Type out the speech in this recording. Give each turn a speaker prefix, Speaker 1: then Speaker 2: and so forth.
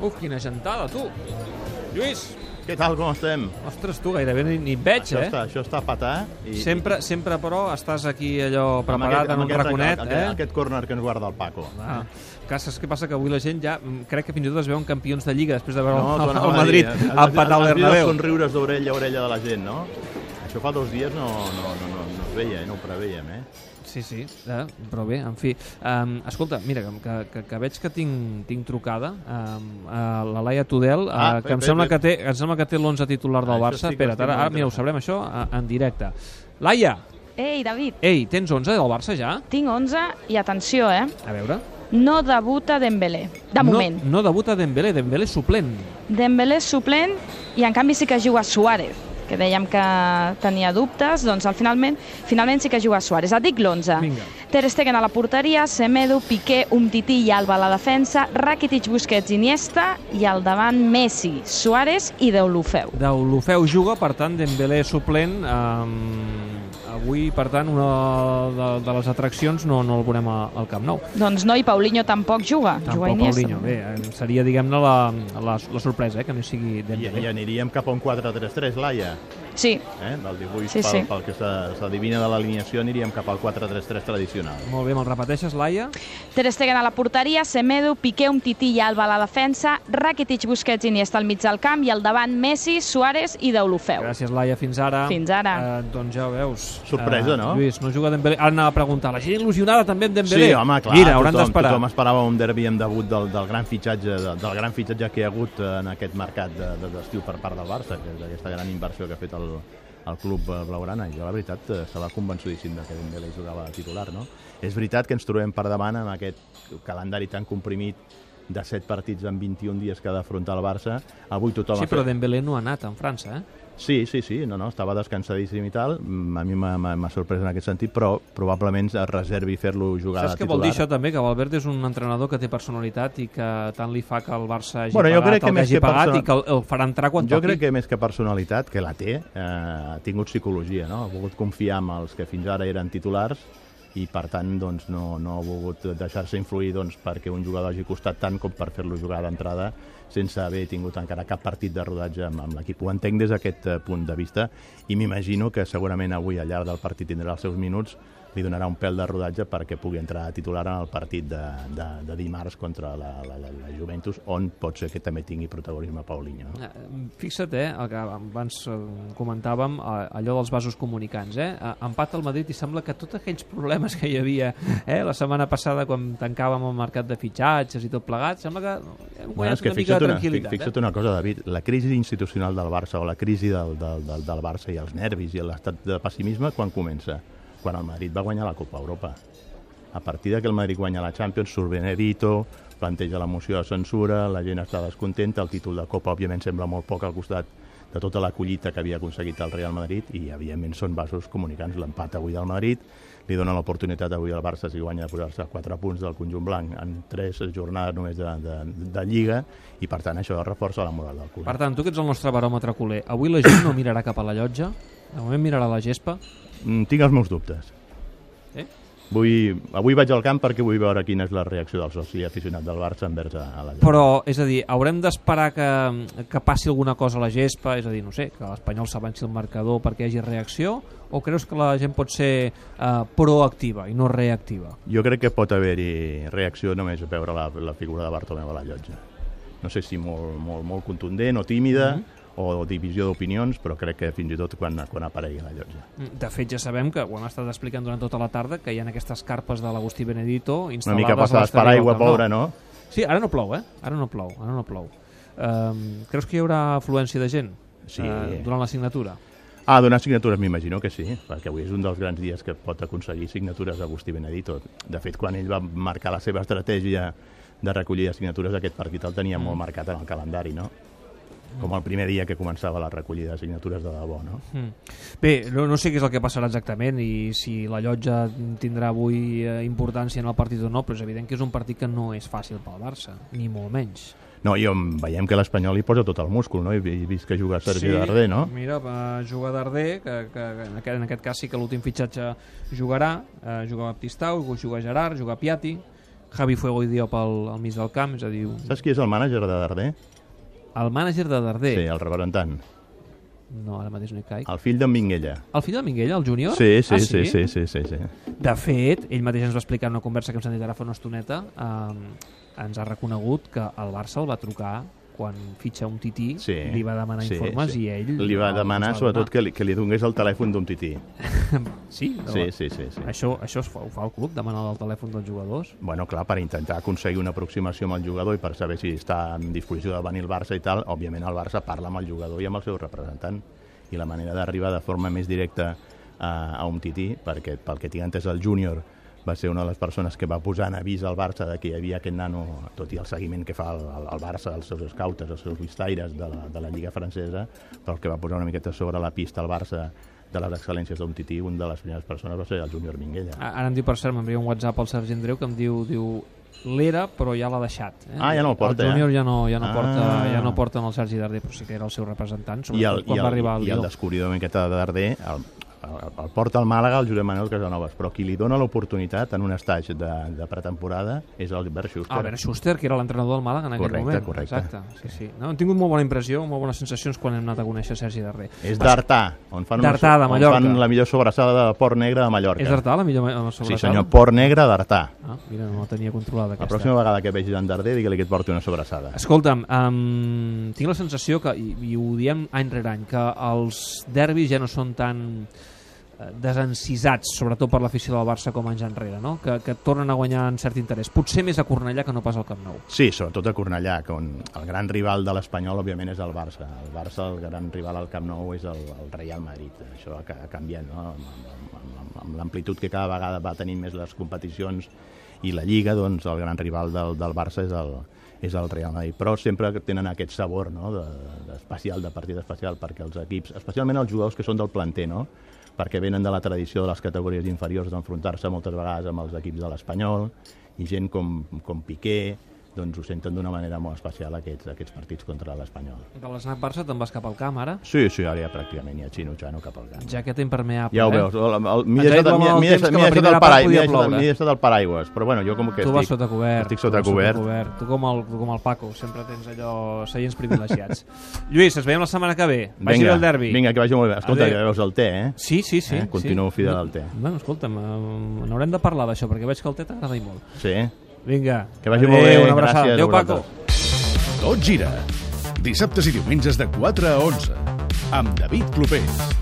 Speaker 1: Uf, quina gentada, tu! Lluís!
Speaker 2: Què tal, com estem?
Speaker 1: Ostres, tu gairebé ni, ni et veig,
Speaker 2: Això,
Speaker 1: eh?
Speaker 2: està, això està patà. I,
Speaker 1: Sempre, sempre, però, estàs aquí allò preparat en un raconet,
Speaker 2: aquest,
Speaker 1: eh?
Speaker 2: Aquest corner que ens guarda el Paco.
Speaker 1: Ah. Clar, saps què passa? Que avui la gent ja, mm, crec que fins i tot es veuen campions de Lliga després de veure
Speaker 2: t'ho
Speaker 1: el, el,
Speaker 2: anava a dir.
Speaker 1: Madrid
Speaker 2: Has- has-
Speaker 1: empatar al
Speaker 2: has vist els
Speaker 1: Bernabéu.
Speaker 2: somriures d'orella a orella de la gent, no? Això fa dos dies no, no, no, no, no es veia, eh? no ho preveiem, eh?
Speaker 1: Sí, sí, eh? però bé, en fi. Um, escolta, mira, que, que, que veig que tinc, tinc trucada um, a la Laia Tudel,
Speaker 2: Ah,
Speaker 1: ah,
Speaker 2: bé,
Speaker 1: que, em
Speaker 2: bé,
Speaker 1: sembla
Speaker 2: bé.
Speaker 1: que té, que em sembla que té l'11 titular del
Speaker 2: Ah, això
Speaker 1: Barça.
Speaker 2: sí que
Speaker 1: Espera't,
Speaker 2: estic
Speaker 1: ara,
Speaker 2: molt
Speaker 1: ara mira, ho
Speaker 2: interessat.
Speaker 1: sabrem això a- en directe. Laia,
Speaker 3: Ei, David,
Speaker 1: ei, tens 11 del Barça ja?
Speaker 3: tinc 11 i atenció, eh?
Speaker 1: A veure.
Speaker 3: No debuta Dembélé, de moment.
Speaker 1: No, no debuta Dembélé, Dembélé és suplent.
Speaker 3: Dembélé és suplent i en canvi sí que juga Suárez, que dèiem que tenia dubtes, doncs al finalment, finalment sí que juga Suárez. Et dic l'11.
Speaker 1: Vinga.
Speaker 3: Ter Stegen a la porteria, Semedo, Piqué, Umtiti i Alba a la defensa, Rakitic, Busquets, Iniesta i al davant Messi, Suárez i Deulofeu.
Speaker 1: Deulofeu juga, per tant, Dembélé és suplent. Um, avui, per tant, una de, de les atraccions no, no el veurem a- al Camp Nou.
Speaker 3: Doncs no, i Paulinho tampoc juga. juga
Speaker 1: Tampoc
Speaker 3: Iniesta.
Speaker 1: Paulinho. Bé, eh, seria, diguem-ne, la, la, la sorpresa, eh, que no hi sigui
Speaker 2: I,
Speaker 1: Dembélé.
Speaker 2: I aniríem cap a un 4-3-3, Laia,
Speaker 3: Sí,
Speaker 2: eh? Del 18
Speaker 3: Sí,
Speaker 2: pel,
Speaker 3: sí.
Speaker 2: pel que s'ha- s'adivina de l'alineació aniríem cap al 4-3-3 tradicional.
Speaker 1: Molt bé, me'l repeteixes, Laia?
Speaker 3: Ter Stegen a la porteria, Semedo, Piqué, Umtiti i Alba a la defensa, Rakitic, Busquets i Iniesta al mig del camp i al davant Messi, Suárez i Deulofeu.
Speaker 1: Gràcies, Laia, fins ara.
Speaker 3: Fins ara.
Speaker 1: Eh, doncs ja ho veus.
Speaker 2: Sorpresa,
Speaker 1: Eh,
Speaker 2: no?
Speaker 1: Lluís, no juga Dembélé. Ara anava a preguntar, la gent il·lusionada també amb Dembélé?
Speaker 2: Sí, home, clar,
Speaker 1: Mira, hauran
Speaker 2: tothom,
Speaker 1: d'esperar.
Speaker 2: tothom esperava un derbi amb debut del, del, gran fitxatge, del, del gran fitxatge que hi ha hagut eh, en aquest mercat de- de- d'estiu de, per part del Barça, que és aquesta gran inversió que ha fet el, el club eh, blaugrana. I jo, la veritat, eh, estava convençudíssim de que Dembélé jugava de titular, no? És veritat que ens trobem per davant amb aquest calendari tan comprimit de 7 partits en 21 dies que ha d'afrontar el Barça. Avui tothom
Speaker 1: Sí,
Speaker 2: ha
Speaker 1: però
Speaker 2: fet...
Speaker 1: Dembélé no ha anat en França, eh?
Speaker 2: Sí, sí, sí, no, no, estava descansadíssim i tal. Mm, A mi m'ha- m'ha m'ha sorprès en aquest sentit, però probablement es reservi fer-lo jugar
Speaker 1: Saps
Speaker 2: de
Speaker 1: què
Speaker 2: titular.
Speaker 1: vol dir això també? Que Valverde és un entrenador que té personalitat i que tant li fa que el Barça hagi
Speaker 2: Bueno, jo
Speaker 1: pagat
Speaker 2: crec que
Speaker 1: el
Speaker 2: més
Speaker 1: que hagi
Speaker 2: que
Speaker 1: pagat
Speaker 2: persona-
Speaker 1: i que el, el farà entrar quan
Speaker 2: Jo
Speaker 1: toqui.
Speaker 2: crec que més que personalitat, que la té, eh, ha tingut psicologia, no? Ha volgut confiar en els que fins ara eren titulars i, per tant, doncs, no, no ha volgut deixar-se influir doncs, perquè un jugador hagi costat tant com per fer-lo jugar d'entrada sense haver tingut encara cap partit de rodatge amb, amb l'equip. Ho entenc des d'aquest eh, punt de vista i m'imagino que segurament avui al llarg del partit tindrà els seus minuts li donarà un pèl de rodatge perquè pugui entrar a titular en el partit de, de, de dimarts contra la, la, la, la Juventus, on pot ser que també tingui protagonisme Paulinho. No?
Speaker 1: Eh, Fixa't, eh, el que abans eh, comentàvem, eh, allò dels vasos comunicants, eh? Eh, Empat al Madrid i sembla que tots aquells problemes que hi havia eh, la setmana passada quan tancàvem el mercat de fitxatges i tot plegat, sembla que hem guanyat
Speaker 2: Bueno, és que
Speaker 1: una mica
Speaker 2: fixa't
Speaker 1: de
Speaker 2: una, fi-
Speaker 1: tranquil·litat. eh?
Speaker 2: fixa't una cosa, David, la crisi institucional del Barça o la crisi del, del, del, del Barça i els nervis i l'estat de pessimisme, quan comença? Quan el Madrid va guanyar la Copa Europa. A partir de que el Madrid guanya la Champions, surt Benedito, planteja la moció de censura, la gent està descontenta, el títol de Copa, òbviament, sembla molt poc al costat de tota la collita que havia aconseguit el Real Madrid i, evidentment, són vasos comunicants. L'empat avui del Madrid li dona l'oportunitat avui al Barça, si guanya, de posar-se a 4 punts del conjunt blanc en 3 jornades només de, de, de Lliga i, per tant, això reforça la moral del
Speaker 1: Eh?
Speaker 2: club.
Speaker 1: Per tant, tu que ets el nostre baròmetre culer, avui la gent no mirarà cap a la llotja, de moment mirarà la gespa.
Speaker 2: Mm, Tinc els meus dubtes.
Speaker 1: Eh?
Speaker 2: Vull, avui vaig al camp perquè vull veure quina és la reacció del soci aficionat del Barça envers a, a la Lliga.
Speaker 1: Però, és a dir, haurem d'esperar que, que passi alguna cosa a la gespa, és a dir, no sé, que l'Espanyol s'avanci el marcador perquè hi hagi reacció, o creus que la gent pot ser eh, proactiva i no reactiva?
Speaker 2: Jo crec que pot haver-hi reacció només a veure la, la figura de Bartomeu a la llotja. No sé si molt, molt, molt contundent o tímida, mm -hmm. o divisió d'opinions, però crec que fins i tot quan, quan aparegui a la llotja.
Speaker 1: Mm, De fet, ja sabem que ho hem estat explicant durant tota la tarda, que hi ha aquestes carpes de l'Agustí Benedito
Speaker 2: Una
Speaker 1: instal·lades...
Speaker 2: mica
Speaker 1: a
Speaker 2: passades per
Speaker 1: l'exterior
Speaker 2: aigua,
Speaker 1: del Camp Nou.
Speaker 2: pobra, no?
Speaker 1: Sí, ara no plou, eh? Ara no plou, ara no plou. Um, creus que hi haurà afluència de gent
Speaker 2: Sí.
Speaker 1: eh, durant la signatura?
Speaker 2: Ah, donar signatures m'imagino que sí, perquè avui és un dels grans dies que pot aconseguir signatures Agustí Benedito. De fet, quan ell va marcar la seva estratègia de recollir de signatures, aquest partit el tenia mm. molt marcat en el calendari, no? Com el primer dia que començava la recollida de signatures de debò, no?
Speaker 1: Mm. Bé, no, no sé què és el que passarà exactament i si la llotja tindrà avui eh, importància en el partit o no, però és evident que és un partit que no és fàcil pel Barça, ni molt menys.
Speaker 2: No, i on veiem que l'Espanyol hi posa tot el múscul, no? I he vist que juga Sergi sí. Darder, no?
Speaker 1: Mira, va jugar Darder, que, que en, aquest, en aquest cas sí que l'últim fitxatge jugarà, eh, juga Baptistau, juga Gerard, juga Piatti, Javi Fuego i Diop al, al mig del camp, és a dir, un-
Speaker 2: Saps qui és el mànager de Darder?
Speaker 1: el mànager de Darder.
Speaker 2: Sí, el representant.
Speaker 1: No, ara mateix no hi caic.
Speaker 2: El fill d'en Minguella.
Speaker 1: El fill de Minguella, el júnior?
Speaker 2: Sí, sí,
Speaker 1: ah,
Speaker 2: sí, sí, sí, sí, sí.
Speaker 1: De fet, ell mateix ens va explicar en una conversa que hem sentit ara fa una estoneta, eh, ens ha reconegut que el Barça el va trucar quan fitxa un tití,
Speaker 2: sí.
Speaker 1: li va demanar
Speaker 2: sí,
Speaker 1: informes
Speaker 2: sí.
Speaker 1: i ell...
Speaker 2: Li va
Speaker 1: els
Speaker 2: demanar,
Speaker 1: va
Speaker 2: sobretot, que li, que li donés el telèfon d'un tití.
Speaker 1: Sí, no,
Speaker 2: Sí, sí, sí, sí.
Speaker 1: Això, això es fa, ho fa el club, demanar el telèfon dels jugadors.
Speaker 2: Bueno, clar, per intentar aconseguir una aproximació amb el jugador i per saber si està en disposició de venir el Barça i tal, òbviament el Barça parla amb el jugador i amb el seu representant. I la manera d'arribar de forma més directa eh, a, a un tití, perquè pel que tinc entès el júnior va ser una de les persones que va posar en avís al Barça de que hi havia aquest nano, tot i el seguiment que fa el, el, el Barça, els seus escautes, els seus vistaires de la, de la Lliga Francesa, però el que va posar una miqueta sobre la pista al Barça de les excel·lències d'un tití, un de les primeres persones va ser el júnior Minguella.
Speaker 1: A- Ara em diu, per cert, m'envia un WhatsApp al Sergi Andreu que em diu, diu l'era, però ja l'ha deixat. Eh?
Speaker 2: Ah, ja no el porta,
Speaker 1: El júnior
Speaker 2: eh?
Speaker 1: ja no, ja no,
Speaker 2: Ah.
Speaker 1: porta, ja no porta en el Sergi Darder, però sí que era el seu representant,
Speaker 2: I
Speaker 1: sobretot
Speaker 2: el, i
Speaker 1: quan
Speaker 2: el,
Speaker 1: va arribar al
Speaker 2: i el
Speaker 1: Lió.
Speaker 2: descobridor una miqueta de Darder, el, el, el porta al Màlaga el Josep Manuel Casanovas, però qui li dona l'oportunitat en un estatge de, de pretemporada és el Bert Schuster.
Speaker 1: Albert Ah, Schuster, que era l'entrenador del Màlaga en aquell
Speaker 2: Correcte,
Speaker 1: moment.
Speaker 2: correcte.
Speaker 1: Exacte, sí, sí. No, hem tingut molt bona impressió, molt bones sensacions quan hem anat a conèixer Sergi Darder.
Speaker 2: És d'Artà, on, fan, una-
Speaker 1: D'Artà, de
Speaker 2: on
Speaker 1: Mallorca.
Speaker 2: fan la millor sobrassada de Port Negre de Mallorca.
Speaker 1: És d'Artà la millor la
Speaker 2: Sí,
Speaker 1: sobretada?
Speaker 2: senyor, Port Negre d'Artà.
Speaker 1: Ah, mira, no la tenia controlada
Speaker 2: La
Speaker 1: aquesta.
Speaker 2: pròxima vegada que vegis en Darder, digue-li que et porti una sobrassada.
Speaker 1: Escolta'm, um, tinc la sensació que, i, i ho diem any rere any, que els derbis ja no són tan eh, desencisats, sobretot per l'afició del Barça com anys enrere, no? que, que tornen a guanyar en cert interès. Potser més a Cornellà que no pas al Camp Nou.
Speaker 2: Sí, sobretot a Cornellà, que on el gran rival de l'Espanyol, òbviament, és el Barça. El Barça, el gran rival al Camp Nou, és el, el Real Madrid. Això ha, ca- ha canviat, no? Amb, amb, amb- amb, amb l'amplitud que cada vegada va tenint més les competicions i la Lliga, doncs el gran rival del, del Barça és el, és el Real Madrid. Però sempre tenen aquest sabor no? de- d'especial, de, de partit especial, perquè els equips, especialment els jugadors que són del planter, no? perquè venen de la tradició de les categories inferiors d'enfrontar-se moltes vegades amb els equips de l'Espanyol i gent com, com Piqué doncs ho senten d'una manera molt especial aquests, aquests partits contra l'Espanyol.
Speaker 1: De l'esnac Barça te'n vas cap al camp ara,
Speaker 2: Sí, sí, ara ja pràcticament hi ha Xino Xano cap al camp.
Speaker 1: jaqueta impermeable.
Speaker 2: Ja ho
Speaker 1: eh?
Speaker 2: veus, el, el, el, m'hi he
Speaker 1: Ens ha dit
Speaker 2: deixat-
Speaker 1: amb el
Speaker 2: m'hi- m'hi he
Speaker 1: temps que la
Speaker 2: deixat m'hi he deixat
Speaker 1: primera
Speaker 2: el
Speaker 1: part
Speaker 2: paraigua, m'hi he
Speaker 1: podia
Speaker 2: deixat-
Speaker 1: ploure.
Speaker 2: m'hi he deixat el paraigües, però bueno, jo com que
Speaker 1: tu vas
Speaker 2: estic,
Speaker 1: sota cobert.
Speaker 2: estic
Speaker 1: tu
Speaker 2: sota
Speaker 1: vas
Speaker 2: cobert.
Speaker 1: cobert. Tu com el, tu com el Paco, sempre tens allò seients privilegiats. Lluís, ens veiem la setmana que ve. Vagi bé el derbi.
Speaker 2: Vinga, que vagi molt bé. Escolta,
Speaker 1: Adéu.
Speaker 2: ja veus el té, eh?
Speaker 1: Sí, sí, sí.
Speaker 2: Eh, continuo
Speaker 1: sí.
Speaker 2: fidel al té.
Speaker 1: Bueno, escolta'm, eh, n'haurem de parlar d'això, perquè veig que el té t'agrada i molt.
Speaker 2: Sí.
Speaker 1: Vinga.
Speaker 2: Que vagi molt
Speaker 1: adéu,
Speaker 2: bé,
Speaker 1: Una abraçada.
Speaker 2: gràcies a
Speaker 1: Adéu, Paco.
Speaker 2: vosaltres.
Speaker 4: Tot gira. Dissabtes i diumenges de 4 a 11. Amb David Clopés.